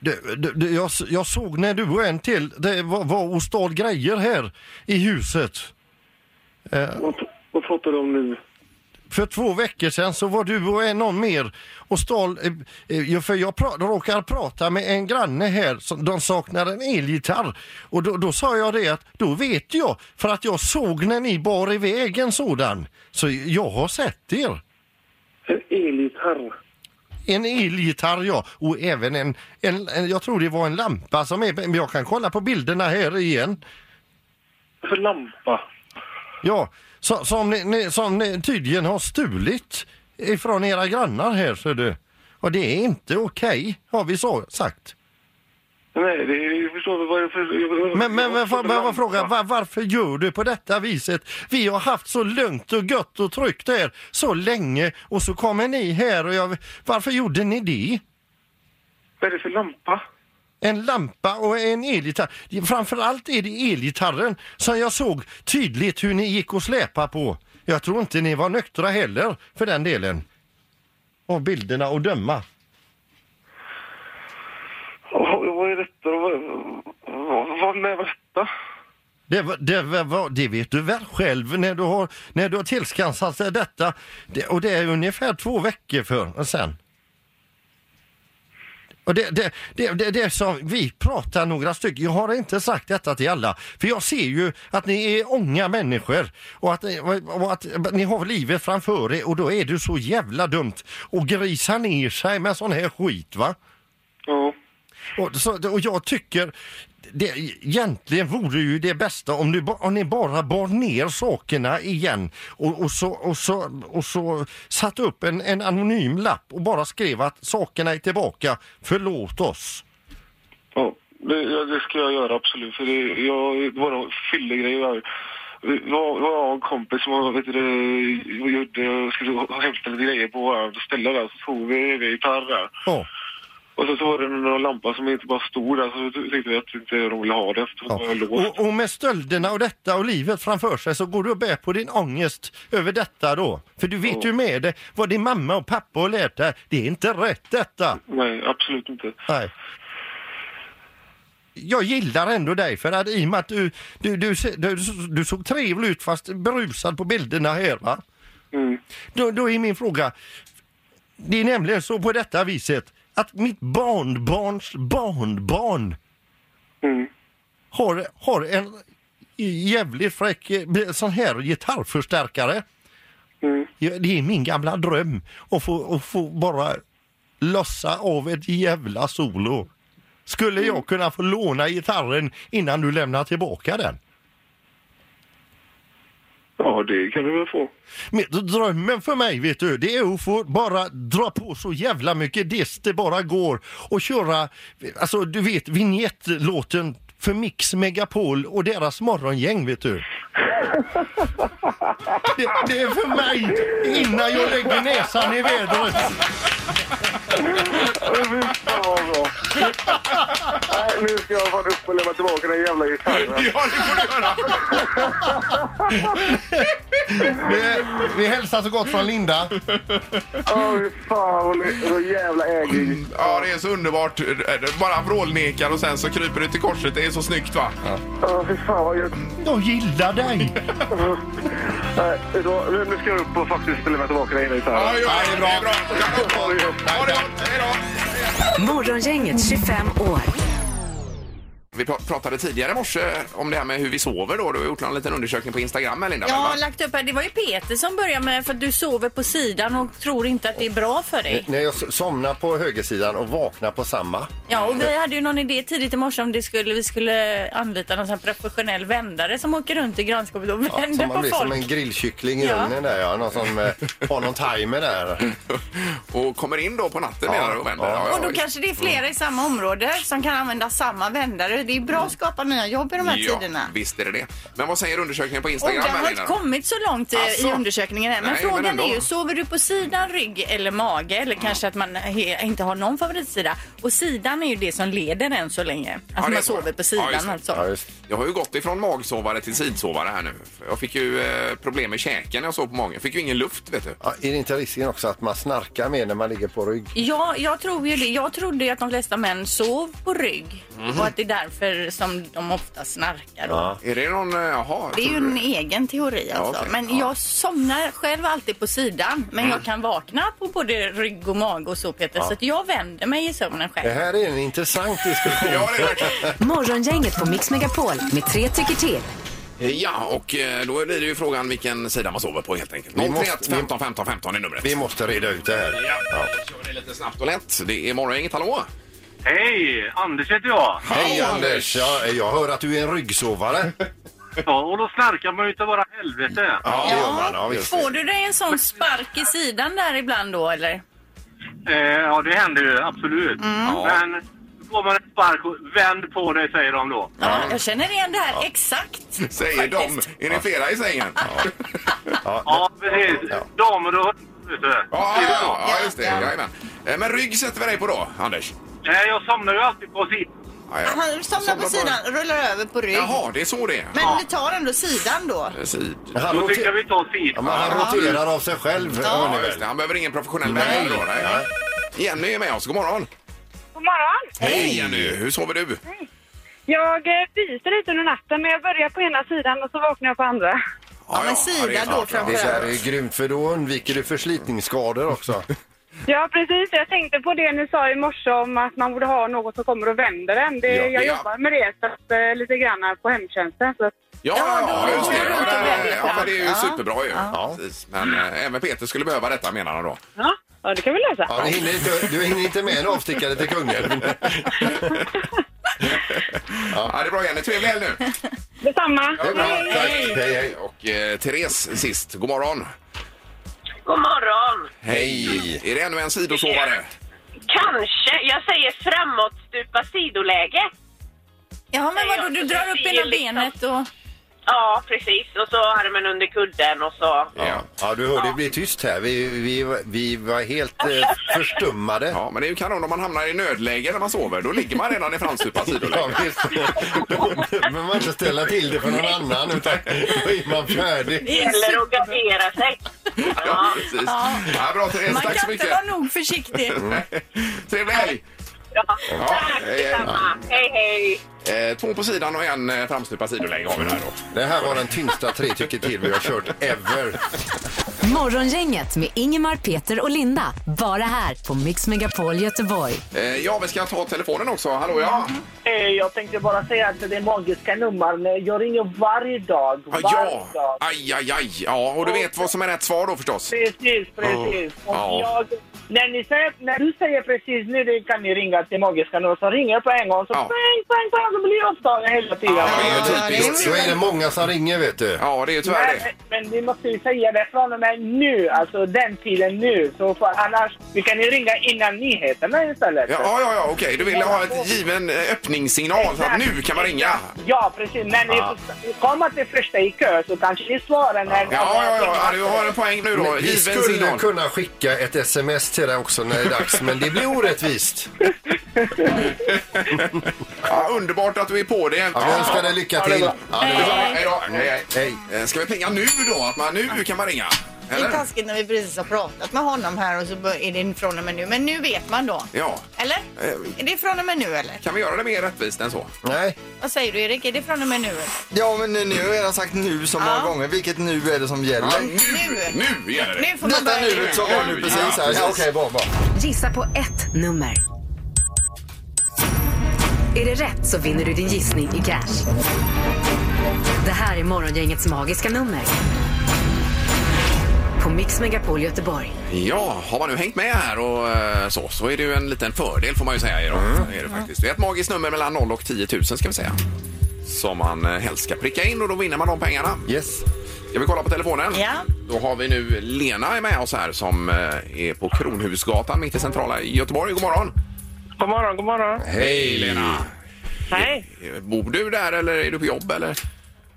[SPEAKER 4] Du, du, du, jag, s- jag såg när du och en till, det var, var och stal grejer här i huset.
[SPEAKER 11] Vad, vad pratar du om nu?
[SPEAKER 4] För två veckor sedan så var du och en någon mer och stal, eh, eh, för jag pra, råkar prata med en granne här, som, de saknar en elgitarr. Och då, då sa jag det att, då vet jag, för att jag såg när ni bar iväg en sådan. Så jag har sett er.
[SPEAKER 11] En elgitarr?
[SPEAKER 4] En elgitarr ja, och även en, en, en, jag tror det var en lampa som är, men jag kan kolla på bilderna här igen.
[SPEAKER 11] Vad För lampa?
[SPEAKER 4] Ja, så, som, ni, ni, som ni tydligen har stulit ifrån era grannar här ser du. Och det är inte okej, har vi så, sagt.
[SPEAKER 11] Nej, det är, jag förstår väl vad jag för...
[SPEAKER 4] Men, men, men, men, men fråga,
[SPEAKER 11] vad...
[SPEAKER 4] var, varför gör du på detta viset? Vi har haft så lugnt och gött och tryggt här så länge och så kommer ni här och jag... Varför gjorde ni det?
[SPEAKER 11] Vad är det för lampa?
[SPEAKER 4] En lampa och en elgitarr. Framförallt är det elgitarren som jag såg tydligt hur ni gick och släpa på. Jag tror inte ni var nyktra heller för den delen. Av bilderna och döma.
[SPEAKER 11] Vad vad är detta? Vad, vad, vad, när var detta?
[SPEAKER 4] Det, var- det, var- det vet du väl själv när du har, när du har tillskansat dig detta. Det, och det är ungefär två veckor för och sen. Och det, det, det, det, det som vi pratar några stycken, jag har inte sagt detta till alla, för jag ser ju att ni är unga människor och att, och att ni har livet framför er och då är det så jävla dumt att grisa ner sig med sån här skit va.
[SPEAKER 11] Ja.
[SPEAKER 4] Och, så, och jag tycker det, egentligen vore ju det bästa om, du, ba- om ni bara bar ner sakerna igen och, och, så, och, så, och så satt upp en, en anonym lapp och bara skrev att sakerna är tillbaka, förlåt oss.
[SPEAKER 11] Ja, det, ja, det ska jag göra absolut. För det, jag, våra fyllegrejer. Det var, det var en kompis som vet du, det, gjorde, skulle hämta lite grejer på våra ställe där. Så tog vi en gitarr där.
[SPEAKER 4] Ja,
[SPEAKER 11] Och sen så var det någon lampa som inte bara stod där. Så tänkte vi att inte de ville ha det. Så
[SPEAKER 4] ja.
[SPEAKER 11] var jag låst.
[SPEAKER 4] Och, och med stölderna och detta och livet framför sig så går du och bär på din ångest över detta då. För du vet ju med det vad din mamma och pappa har lärt dig, det är inte rätt detta.
[SPEAKER 11] Nej, absolut inte.
[SPEAKER 4] Nej. Jag gillar ändå dig för att i och med att du, du, du, se- du, du såg trevlig ut fast berusad på bilderna här va?
[SPEAKER 11] Mm.
[SPEAKER 4] Då, då är min fråga, det är nämligen så på detta viset att mitt barnbarns barnbarn
[SPEAKER 11] Mm.
[SPEAKER 4] har, har en jävligt fräck eh, sån här gitarrförstärkare.
[SPEAKER 11] Mm.
[SPEAKER 4] Ja, det är min gamla dröm att få, att få bara lossa av ett jävla solo. Skulle
[SPEAKER 11] Mm.
[SPEAKER 4] jag kunna få låna gitarren innan du lämnar tillbaka den?
[SPEAKER 11] Ja, det kan du väl få.
[SPEAKER 4] Men drömmen för mig, vet du, det är att få bara dra på så jävla mycket diss det bara går och köra, alltså du vet, vignettlåten
[SPEAKER 12] för Mix Megapol och deras morgongäng, vet du. Det, det är för mig innan jag lägger näsan i vädret.
[SPEAKER 11] Fy fan vad bra. Nej, nu ska jag fan upp och lämna tillbaka den jävla gitarren.
[SPEAKER 2] Ja, det får du göra.
[SPEAKER 12] Vi, vi hälsar så gott från Linda.
[SPEAKER 11] Åh, fy fan vad ni- vad jävla ägig.
[SPEAKER 2] Ja, det är så underbart. Bara vrålnekar och sen så kryper du till korset. Det är så snyggt, va?
[SPEAKER 11] Åh, fy fan vad gött.
[SPEAKER 12] Jag gillar dig.
[SPEAKER 11] Nej, vet du vad? Nu ska jag upp och faktiskt lämna tillbaka den jävla
[SPEAKER 2] Ja,
[SPEAKER 11] gitarren.
[SPEAKER 2] det gör jag. Det är bra. Ha det gott. Ha det gott. Hej då.
[SPEAKER 1] Morgongänget 25 år.
[SPEAKER 2] Vi pra- pratade tidigare i morse om det här med hur vi sover. Då. Du har gjort någon liten undersökning på Instagram, här, Linda.
[SPEAKER 13] Jag
[SPEAKER 2] väl, va?
[SPEAKER 13] har lagt upp här, det var ju Peter som började med för att du sover på sidan och tror inte att det är bra för dig.
[SPEAKER 4] När jag s- somnar på högersidan och vaknar på samma.
[SPEAKER 13] Ja, och vi hade ju någon idé tidigt i morse om det skulle, vi skulle anlita någon sån här professionell vändare som åker runt i grannskapet och
[SPEAKER 4] Ja,
[SPEAKER 13] vänder
[SPEAKER 4] som man
[SPEAKER 13] på
[SPEAKER 4] blir
[SPEAKER 13] folk.
[SPEAKER 4] som en grillkyckling i
[SPEAKER 13] Ja.
[SPEAKER 4] ugnen där ja. Någon som eh, har någon timer där.
[SPEAKER 2] och kommer in då på natten
[SPEAKER 4] Ja,
[SPEAKER 2] menar du, och vänder.
[SPEAKER 4] ja.
[SPEAKER 2] ja,
[SPEAKER 3] Och då kanske det är flera
[SPEAKER 2] Mm.
[SPEAKER 3] i samma område som kan använda samma vändare. Det är bra att skapa nya jobb i de här
[SPEAKER 2] ja,
[SPEAKER 3] tiderna.
[SPEAKER 2] Visst är det det. Men vad säger undersökningen på
[SPEAKER 3] Och
[SPEAKER 2] Instagram?
[SPEAKER 3] det
[SPEAKER 2] här,
[SPEAKER 3] har
[SPEAKER 2] Linda?
[SPEAKER 3] inte kommit så långt eh,
[SPEAKER 2] Alltså.
[SPEAKER 3] i undersökningen än. Men
[SPEAKER 2] Nej, men
[SPEAKER 3] frågan
[SPEAKER 2] ändå.
[SPEAKER 3] är ju, sover du på sidan, rygg eller mage? Eller kanske att man he- inte har någon favoritsida. Och sidan är ju det som leder än så länge. Att
[SPEAKER 2] det är
[SPEAKER 3] man
[SPEAKER 2] så.
[SPEAKER 3] sover på
[SPEAKER 2] Ja,
[SPEAKER 3] sidan
[SPEAKER 2] just det.
[SPEAKER 3] alltså.
[SPEAKER 4] Ja, just.
[SPEAKER 2] Jag har ju gått ifrån magsovare till sidsovare här nu. Jag fick ju eh, problem med käken när jag sov på magen. Jag fick ju ingen luft, vet du.
[SPEAKER 4] Ja, är det inte risken också att man snarkar mer när man ligger på rygg?
[SPEAKER 3] Ja, jag tror ju det. Jag trodde ju att de flesta män sov på rygg.
[SPEAKER 2] Mhm.
[SPEAKER 3] Och att det är därför som de ofta snarkar. då.
[SPEAKER 2] Är det någon... eh, Jaha.
[SPEAKER 3] Det är ju
[SPEAKER 2] tror du-
[SPEAKER 3] en egen teori alltså.
[SPEAKER 2] okej.
[SPEAKER 3] Men
[SPEAKER 2] Ja. Mm.
[SPEAKER 3] jag somnar själv alltid på sidan. Men jag kan vakna på både rygg och mage och så Peter. Så att jag vänder mig i sömnen
[SPEAKER 4] Det
[SPEAKER 2] Eh.
[SPEAKER 3] själv.
[SPEAKER 4] här är en intressant diskussion.
[SPEAKER 2] Ja, det är verkligen.
[SPEAKER 1] Morgongänget på Mix Megapol med tre tycker till.
[SPEAKER 2] ja, och eh, då blir det ju frågan vilken sida man sover på helt enkelt.
[SPEAKER 4] Vi
[SPEAKER 2] 031
[SPEAKER 4] måste-
[SPEAKER 2] 15 15 15 är numret.
[SPEAKER 4] Vi måste reda ut det här.
[SPEAKER 2] Ja, då kör vi lite snabbt och lätt. Det är morgongänget, hallå!
[SPEAKER 9] Hej! Anders heter jag.
[SPEAKER 4] Hej
[SPEAKER 2] Hallå,
[SPEAKER 4] Anders! Ja, jag hör att du är en ryggsovare.
[SPEAKER 9] Ja, och då snarkar man ju inte bara helvete.
[SPEAKER 4] Ja, det gör man. Ja, visst.
[SPEAKER 3] Får du dig en sån spark i sidan där ibland då eller?
[SPEAKER 9] Eh, ja, det händer ju absolut.
[SPEAKER 4] Mm.
[SPEAKER 9] Men då får man en spark och vänd på dig säger de då.
[SPEAKER 3] Ja, jag känner igen det här exakt.
[SPEAKER 2] Säger de. Är ni flera i sängen? Ja,
[SPEAKER 9] Ja, precis. Damer och vet du.
[SPEAKER 2] ja, ja, ja just det. Jajamän. Eh, Men rygg sätter vi dig på då, Anders?
[SPEAKER 9] Nej, jag somnar ju alltid på sitt.
[SPEAKER 2] Ja, ja.
[SPEAKER 3] Han somnar på sidan, rullar över på rygg.
[SPEAKER 2] Jaha, det är så det är. Eh,
[SPEAKER 3] Men vi tar ändå sidan då.
[SPEAKER 2] Sid.
[SPEAKER 4] Han,
[SPEAKER 9] Då tycker jag
[SPEAKER 4] roter-
[SPEAKER 9] vi tar sitt.
[SPEAKER 4] ja, men han roterar av sig själv. hör ni
[SPEAKER 2] Ja,
[SPEAKER 4] väl?
[SPEAKER 2] just det. Han behöver ingen professionell
[SPEAKER 4] Nej.
[SPEAKER 2] vän. då, nej. Jenny är med oss. God morgon!
[SPEAKER 8] God morgon!
[SPEAKER 2] Hej Jenny! Hur sover du?
[SPEAKER 8] Jag eh, byter lite under natten, men jag börjar på ena sidan och så vaknar jag på andra.
[SPEAKER 2] Ja,
[SPEAKER 3] men sida
[SPEAKER 2] det är
[SPEAKER 3] då
[SPEAKER 2] klart, ja.
[SPEAKER 3] framför-
[SPEAKER 4] Det där är grymt för då undviker du förslitningsskador också.
[SPEAKER 8] Ja, precis. Jag tänkte på det ni sa i morse om att man borde ha något som kommer och vänder en. Det,
[SPEAKER 4] Ja.
[SPEAKER 8] jag
[SPEAKER 2] Ja.
[SPEAKER 8] jobbar med det så att, eh, lite grann på hemtjänsten. Så att,
[SPEAKER 2] Ja, ja,
[SPEAKER 3] Ja,
[SPEAKER 2] ja,
[SPEAKER 3] då
[SPEAKER 2] just det.
[SPEAKER 3] går du
[SPEAKER 2] Ja,
[SPEAKER 3] runt och
[SPEAKER 2] men-
[SPEAKER 3] vänder
[SPEAKER 2] ja, men det är ju
[SPEAKER 3] fram.
[SPEAKER 2] superbra ju.
[SPEAKER 4] Ja.
[SPEAKER 2] Precis. Men eh, även Peter skulle behöva detta menar han då.
[SPEAKER 8] ja. ja, det kan vi lösa.
[SPEAKER 4] Ja, du, hinner inte, du hinner inte med en avstickare till kungen.
[SPEAKER 2] Ja, det är bra Jenny. Trevlig helg nu!
[SPEAKER 8] Detsamma.
[SPEAKER 4] Det är bra. Tack. Hej, hej.
[SPEAKER 2] Och eh, Therese sist. God morgon!
[SPEAKER 8] God morgon!
[SPEAKER 2] Hej! Är det ännu en sidosovare?
[SPEAKER 8] Kanske. Jag säger framåtstupa sidoläge.
[SPEAKER 3] Ja men vadå, du drar upp ena benet och...
[SPEAKER 8] Ja, precis. Och så armen under kudden och så...
[SPEAKER 4] Ja. ja, du hör, det blir tyst här. Vi, vi, vi var helt eh, förstummade.
[SPEAKER 2] Ja, men det är ju kanon om man hamnar i nödläge när man sover. Då ligger man redan i framstupa
[SPEAKER 4] Ja,
[SPEAKER 2] sidoläge.
[SPEAKER 4] visst. Då behöver man inte ställa till det för någon annan utan då är man färdig.
[SPEAKER 8] Eller att gardera sig.
[SPEAKER 2] Ja, precis. Ja, bra Therese,
[SPEAKER 3] Man
[SPEAKER 2] tack så
[SPEAKER 3] kan inte
[SPEAKER 2] mycket.
[SPEAKER 3] vara nog försiktig.
[SPEAKER 2] Trevlig helg!
[SPEAKER 8] Ja.
[SPEAKER 2] Tack, hej, hej. detsamma.
[SPEAKER 8] Hej, hej.
[SPEAKER 2] Eh, två på sidan och en eh, framstupa sidoläge har vi där då.
[SPEAKER 4] Det här var den tyngsta tre tycker till vi har kört ever.
[SPEAKER 1] Morgongänget med Ingemar, Peter och Linda. Bara här på Mix Megapol Göteborg.
[SPEAKER 2] Eh, ja, vi ska ta telefonen också. Hallå, ja.
[SPEAKER 14] Eh,
[SPEAKER 8] Jag tänkte bara säga att det är magiska nummer. Jag ringer varje dag.
[SPEAKER 2] Ah,
[SPEAKER 8] Varje
[SPEAKER 2] ja.
[SPEAKER 8] dag.
[SPEAKER 2] Aj, aj, aj. Ja, och du vet vad som är rätt svar då förstås?
[SPEAKER 8] Precis, precis. Och
[SPEAKER 2] Ja.
[SPEAKER 8] jag,
[SPEAKER 14] När, ni säger, när du säger precis nu det kan ni ringa till magiska någon som ringer på en gång så pang, pang, pang, så blir jag upptagen hela tiden.
[SPEAKER 4] typ, Då är det många som ringer vet du.
[SPEAKER 2] Ja, det är
[SPEAKER 14] Nej, men vi måste ju säga det från och med nu, alltså den tiden nu. Så för, annars, vi kan ju ringa innan nyheterna istället.
[SPEAKER 2] Ja, ja, ja, okej. Du vill ha ett given eh, öppningssignal så att nu kan man ringa.
[SPEAKER 14] Ja, precis. Men ni
[SPEAKER 2] Ja.
[SPEAKER 14] får komma till första i kö så kanske ni svarar när...
[SPEAKER 2] Ja, ja, ja, ja, du har en poäng nu då.
[SPEAKER 4] Men Vi
[SPEAKER 2] Given
[SPEAKER 4] skulle
[SPEAKER 2] signal.
[SPEAKER 4] kunna skicka ett sms till dig också när det är dags, men det blir orättvist.
[SPEAKER 2] Ja, underbart att du är på det. Ja,
[SPEAKER 4] vi önskar dig lycka
[SPEAKER 2] Ja, det är
[SPEAKER 4] till.
[SPEAKER 2] bra.
[SPEAKER 4] Ja, det är bra.
[SPEAKER 2] Hej då. Hej, hej. Eh, Ska vi plinga nu då? Att man, nu kan man ringa?
[SPEAKER 3] Det är
[SPEAKER 2] Eller?
[SPEAKER 3] taskigt när vi precis har pratat med honom här och så bör- är det från och med nu. Men nu vet man då.
[SPEAKER 2] Ja.
[SPEAKER 3] Eller?
[SPEAKER 2] Eh,
[SPEAKER 3] Är det från och med nu eller?
[SPEAKER 2] Kan vi göra det mer rättvist än så?
[SPEAKER 4] Nej.
[SPEAKER 3] Vad säger du Erik? Är det från och med nu eller?
[SPEAKER 7] Ja, men nu har jag redan sagt nu så många gånger. Vilket nu är det som gäller?
[SPEAKER 2] nu, nu gäller
[SPEAKER 3] Nu får man
[SPEAKER 7] Detta
[SPEAKER 3] börja
[SPEAKER 7] nuet som var nu precis här. Ja, okej, bra, bra.
[SPEAKER 1] Gissa på ett nummer. Är det rätt så vinner du din gissning i cash. Det här är Morgongängets magiska nummer. På Mix Megapol Göteborg.
[SPEAKER 2] Ja, har man nu hängt med här och eh, så, så är det ju en liten fördel får man ju säga idag. Är det, faktiskt. det är ett magiskt nummer mellan 0 och 10 000 ska vi säga. Som man eh, helst ska pricka in och då vinner man de pengarna.
[SPEAKER 4] Yes.
[SPEAKER 2] Ska vi kolla på telefonen? Ja. Då har vi nu Lena är med oss här som eh, är på Kronhusgatan mitt i centrala Göteborg. God morgon!
[SPEAKER 15] God morgon, god morgon.
[SPEAKER 2] Hej Lena! eh,
[SPEAKER 15] Hej.
[SPEAKER 2] Bor du där eller är du på jobb eller?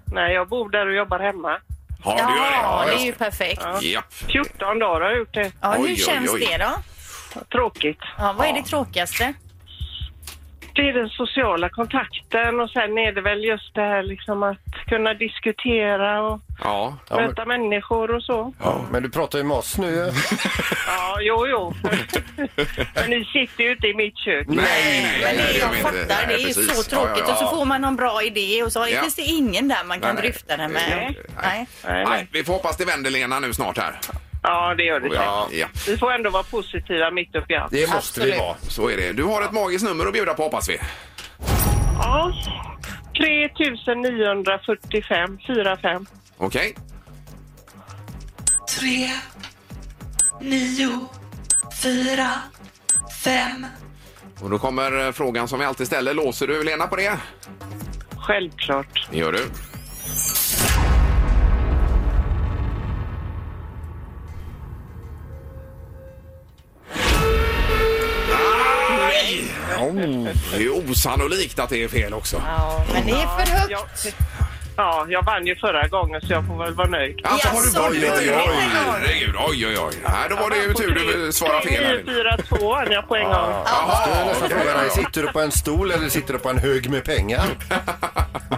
[SPEAKER 15] Nej, jag bor där och jobbar hemma.
[SPEAKER 2] Ja, du gör det.
[SPEAKER 15] Ja, det
[SPEAKER 2] Ja, just
[SPEAKER 15] är
[SPEAKER 2] det.
[SPEAKER 15] ju
[SPEAKER 3] perfekt.
[SPEAKER 15] Ja.
[SPEAKER 2] Japp.
[SPEAKER 15] 14 dagar har jag gjort det.
[SPEAKER 3] Ja, hur känns det då?
[SPEAKER 15] Tråkigt.
[SPEAKER 3] Ja, vad är det tråkigaste?
[SPEAKER 15] Det är den sociala kontakten och sen är det väl just det här liksom att kunna diskutera och
[SPEAKER 2] Ja.
[SPEAKER 15] möta människor och så.
[SPEAKER 4] Ja, men du pratar ju med oss nu.
[SPEAKER 15] Ja, jo, jo. Men ni sitter ju inte i mitt kök.
[SPEAKER 4] Nej, nej,
[SPEAKER 3] Men det,
[SPEAKER 4] gör
[SPEAKER 3] jag
[SPEAKER 4] vi
[SPEAKER 3] fattar, det
[SPEAKER 4] inte.
[SPEAKER 3] är
[SPEAKER 4] Nej,
[SPEAKER 3] ju
[SPEAKER 4] precis.
[SPEAKER 3] så tråkigt.
[SPEAKER 2] Ja, ja, ja.
[SPEAKER 3] Och så får man någon bra idé och så
[SPEAKER 2] Ja.
[SPEAKER 3] finns det ingen där man kan
[SPEAKER 2] Nej, nej.
[SPEAKER 3] dryfta det med.
[SPEAKER 2] Nej.
[SPEAKER 3] Nej.
[SPEAKER 2] Nej, vi får hoppas det vänder Lena nu snart här.
[SPEAKER 15] Ja, det gör det
[SPEAKER 2] Ja. Ja.
[SPEAKER 15] Vi får ändå vara positiva mitt uppe i allt.
[SPEAKER 2] Så är det. Du har ett magiskt nummer att bjuda på hoppas vi.
[SPEAKER 15] Ja. 3945 45.
[SPEAKER 2] Okej.
[SPEAKER 15] 3, 9, 4, 5.
[SPEAKER 2] Och då kommer eh, frågan som vi alltid ställer. Låser du Lena på det?
[SPEAKER 15] Självklart.
[SPEAKER 2] Det gör du. Nej! Det är ju osannolikt att det är fel också.
[SPEAKER 3] Ja, men det är för högt.
[SPEAKER 15] Ja, jag vann ju förra gången så jag får väl vara nöjd.
[SPEAKER 2] Alltså har du vunnit? Oj, herregud. Oj, oj, oj. Nej, då var det ju tur du svarade fel. här.
[SPEAKER 15] 4, 2 vann jag på en gång.
[SPEAKER 4] Jag får fråga dig, Sitter du på en stol eller sitter du på en hög med pengar?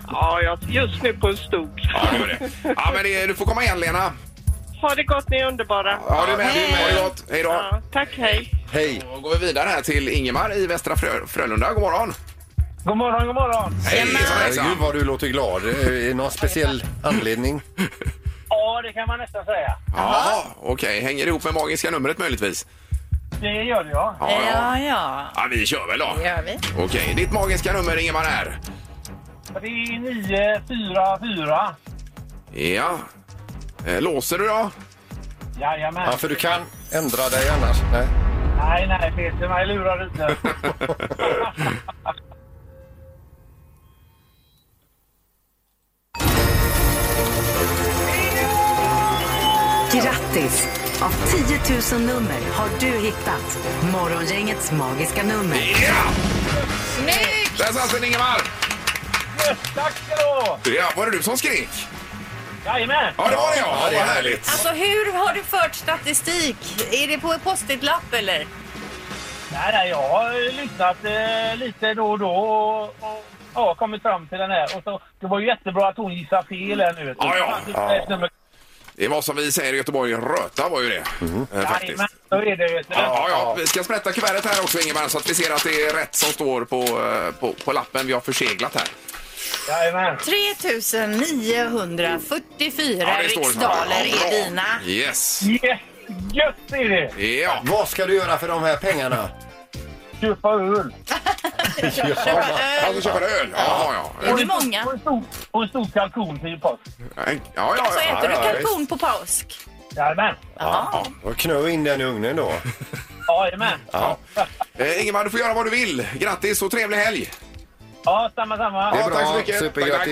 [SPEAKER 15] Ja, jag just nu på en stol.
[SPEAKER 2] Ja, det gör det. Ja, men det, du får komma igen, Lena.
[SPEAKER 15] Ha det gott, ni är underbara.
[SPEAKER 2] Ja, du är med. Du är med. Ha det gott. Hej då.
[SPEAKER 15] Ja, tack, hej.
[SPEAKER 4] Hej.
[SPEAKER 2] Då går vi vidare här till Ingemar i Västra Frö Frölunda. God morgon.
[SPEAKER 15] God morgon, god morgon.
[SPEAKER 2] Hej,
[SPEAKER 4] Herregud vad du låter glad. Är det någon speciell anledning?
[SPEAKER 14] Ja, det kan man nästan säga.
[SPEAKER 2] Ja, okej. Hänger det ihop med magiska numret möjligtvis?
[SPEAKER 14] Det gör det, ja.
[SPEAKER 2] Ja, ja.
[SPEAKER 3] ja.
[SPEAKER 2] Ja, vi kör väl då.
[SPEAKER 3] Det gör vi.
[SPEAKER 2] Okej, ditt magiska nummer Ingemar är?
[SPEAKER 14] Det är 944.
[SPEAKER 2] Ja. Eh, Låser du då?
[SPEAKER 14] Jajamän.
[SPEAKER 4] Ja, för du kan ändra dig annars. Nej.
[SPEAKER 14] Nej, nej, Peter, mig lurar du inte.
[SPEAKER 1] Grattis! Av 10 000 nummer har du hittat Morgongängets magiska nummer.
[SPEAKER 2] Snyggt! Där satt den Ingemar!
[SPEAKER 14] Tack ska du ha!
[SPEAKER 2] Ja, var det du som skrek?
[SPEAKER 14] Jajamän!
[SPEAKER 2] Ja, det var det ja. Vad härligt.
[SPEAKER 3] Alltså hur har du fört statistik? Är det på en post-it-lapp eller?
[SPEAKER 14] Nej, nej, jag har lyssnat eh, lite då och då och, och ja, kommit fram till den här. Och så, det var ju jättebra att hon gissade fel här nu. vet du.
[SPEAKER 2] Ja, ja.
[SPEAKER 14] Det fanns ett nummer.
[SPEAKER 2] Det var som vi säger i Göteborg, röta var ju det.
[SPEAKER 14] Mm.
[SPEAKER 2] Eh, faktiskt.
[SPEAKER 14] Jajamän, så är det. Vet du.
[SPEAKER 2] Ja, ja, vi ska sprätta kuvertet här också Ingemar så att vi ser att det är rätt som står på, eh, på, på lappen vi har förseglat här.
[SPEAKER 3] 3944
[SPEAKER 2] Ja, det står så.
[SPEAKER 3] riksdaler
[SPEAKER 2] Ja, bra.
[SPEAKER 3] är dina.
[SPEAKER 2] Yes!
[SPEAKER 14] Yes, gött är det!
[SPEAKER 2] Ja.
[SPEAKER 4] Vad ska du göra för de här pengarna?
[SPEAKER 14] Köpa öl.
[SPEAKER 2] Ja, du köper öl? Ja, ja.
[SPEAKER 14] Och en stor- Och en stor, och en stor kalkon till post.
[SPEAKER 2] Ja, ja, ja.
[SPEAKER 3] Så äter du
[SPEAKER 4] ja,
[SPEAKER 3] kalkon på påsk?
[SPEAKER 14] Jajamän.
[SPEAKER 4] Ja. Knö in den i ugnen då.
[SPEAKER 14] Ja, jajamän.
[SPEAKER 2] Ja. Eh, Ingemar, du får göra vad du vill. Grattis och trevlig helg!
[SPEAKER 14] Ja, samma, samma.
[SPEAKER 2] Ja, tack så mycket. Tack, tack.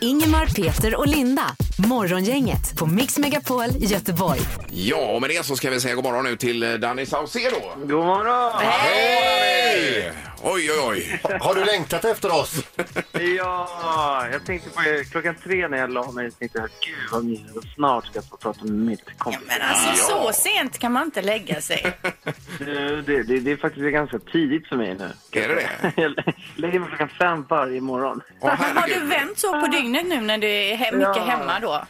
[SPEAKER 1] Ingemar, Peter och Linda. Morgongänget på Mix Megapol i Göteborg.
[SPEAKER 2] Ja, och med det så ska vi säga god morgon nu till eh, Danny Saucedo.
[SPEAKER 16] God morgon!
[SPEAKER 2] Hej! Oj, oj, oj.
[SPEAKER 16] Har du längtat efter oss? ja, jag tänkte på er. klockan tre när jag la mig. Jag tänkte jag, gud vad mysigt, och snart ska jag få prata med mitt kompis.
[SPEAKER 13] Men alltså, så sent kan man inte lägga sig.
[SPEAKER 16] Du, det, det, det är faktiskt ganska tidigt för mig nu.
[SPEAKER 2] Är det det?
[SPEAKER 16] Jag lägger mig klockan fem varje morgon.
[SPEAKER 13] Har du vänt så på dygnet nu när du är he- mycket
[SPEAKER 16] Ja.
[SPEAKER 13] hemma då?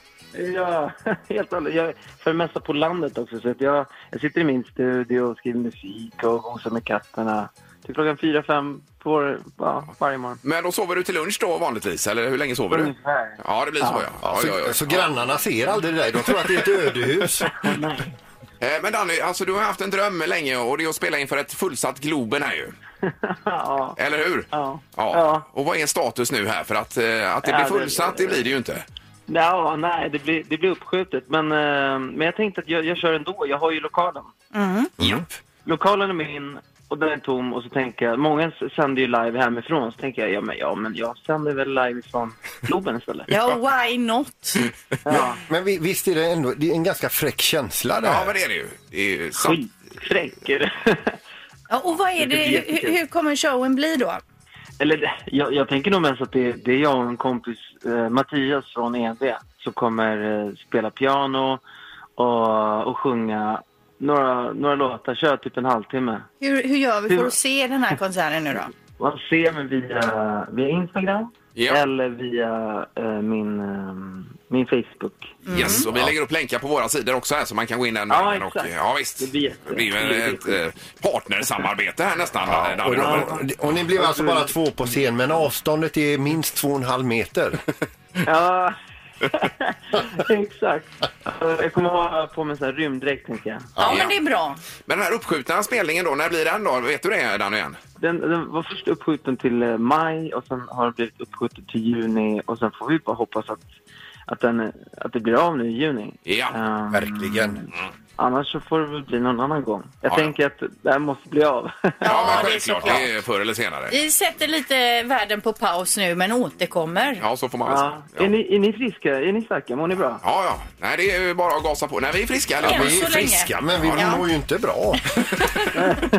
[SPEAKER 16] Ja, helt och hållet. Jag är för det mesta på landet också. Så att jag, jag sitter i min studio och skriver musik och gosar med katterna. Till klockan fyra, fem på vår, ja, varje morgon.
[SPEAKER 2] Men då sover du till lunch då vanligtvis, eller hur länge sover du?
[SPEAKER 16] Ungefär.
[SPEAKER 2] Ja, det blir så ja. ja,
[SPEAKER 4] Så-
[SPEAKER 2] ja, ja.
[SPEAKER 4] så grannarna ser aldrig dig? De tror att det är ett ödehus.
[SPEAKER 2] Eh, Men Danny, alltså du har haft en dröm länge och det är att spela inför ett fullsatt Globen här ju.
[SPEAKER 16] Ja.
[SPEAKER 2] Eller hur?
[SPEAKER 16] Ja.
[SPEAKER 2] Och vad är status nu här? För att, eh, att det
[SPEAKER 16] Ja,
[SPEAKER 2] blir
[SPEAKER 16] det-
[SPEAKER 2] fullsatt, det blir det ju inte.
[SPEAKER 16] Ja, nej, det blir, det blir uppskjutet. Men, eh, men jag tänkte att jag, jag kör ändå. Jag har ju lokalen.
[SPEAKER 13] Mm.
[SPEAKER 16] Lokalen är min och den är tom. Och så tänker jag, många s- sänder ju live hemifrån. Så tänker jag, ja men, ja, men jag sänder väl live från Globen istället.
[SPEAKER 13] Ja, why not?
[SPEAKER 4] Men, men vi- visst är det ändå det är en ganska fräck känsla det här?
[SPEAKER 2] Ja, men det är det ju. Det är ju sant.
[SPEAKER 16] Skitfräck är det.
[SPEAKER 13] Ja, och vad är det,
[SPEAKER 16] Det blir
[SPEAKER 13] hur,
[SPEAKER 16] jättekul.
[SPEAKER 13] hur kommer showen bli då?
[SPEAKER 16] Eller det- jag, jag tänker nog mest att det, det är jag och en kompis, eh, Mattias från ED, som kommer eh, spela piano och, och sjunga några, några låtar. Kör typ en halvtimme.
[SPEAKER 13] Hur, hur gör vi för att se den här konserten nu då?
[SPEAKER 16] Man ser mig via, via Instagram eller via eh, min, eh, min Facebook.
[SPEAKER 2] Yes, och vi
[SPEAKER 16] Ja.
[SPEAKER 2] lägger upp länkar på våra sidor också här så man kan gå in den
[SPEAKER 16] Ja,
[SPEAKER 2] vägen och,
[SPEAKER 16] exakt.
[SPEAKER 2] Mm. ja visst. Det blir, ju en- ett, eh, partnersamarbete här nästan. eh, Danny,
[SPEAKER 4] Och,
[SPEAKER 2] Robert.
[SPEAKER 4] och, och ni blev alltså bara två på scen, men avståndet är minst två och en halv meter.
[SPEAKER 16] Ja, exakt. Eh, Jag kommer ha på mig en sån här rymddräkt, tänker jag.
[SPEAKER 13] Ja, men det är bra.
[SPEAKER 2] Men den här uppskjutna spelningen då, när blir den då? Vet du det Danny? igen?
[SPEAKER 16] Den, den var först uppskjuten till eh, maj och sen har den blivit uppskjuten till juni och sen får vi bara hoppas att, att, den, att det blir av nu i juni.
[SPEAKER 2] Ja, Mm.
[SPEAKER 16] verkligen. Annars så får det väl bli någon annan gång. Jag
[SPEAKER 2] Ja, ja.
[SPEAKER 16] tänker att det här måste bli av.
[SPEAKER 2] Ja, men självklart. Det är förr eller senare.
[SPEAKER 13] Vi sätter lite världen på paus nu, men återkommer.
[SPEAKER 2] Ja, så får man väl säga. Ja.
[SPEAKER 16] Är, ni, är ni friska? Är ni starka? Mår ni bra?
[SPEAKER 2] Ja, ja. Nej, det är ju bara att gasa på. Nej, vi är friska.
[SPEAKER 16] Ja,
[SPEAKER 2] allihopa.
[SPEAKER 16] vi är så länge. friska, men vi Ja. mår
[SPEAKER 4] ju inte bra.
[SPEAKER 2] Nej, det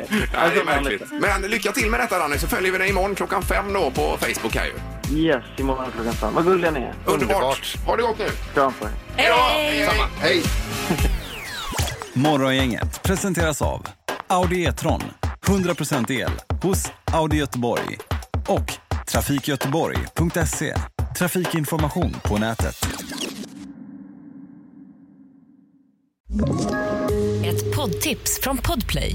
[SPEAKER 2] är märkligt. Alltså, Men lycka till med detta, Danny, så följer vi dig imorgon klockan fem då på Facebook här ju.
[SPEAKER 16] Yes, imorgon klockan fem. Vad gulliga ni är.
[SPEAKER 2] Underbart. Ha det gott nu.
[SPEAKER 16] Kram på er.
[SPEAKER 13] Hej
[SPEAKER 2] då! Samma.
[SPEAKER 4] Hej!
[SPEAKER 17] Morgongänget presenteras av Audi E-tron. 100% el hos Audi Göteborg. Och trafikgöteborg.se. Trafikinformation på nätet.
[SPEAKER 18] Ett poddtips från Podplay.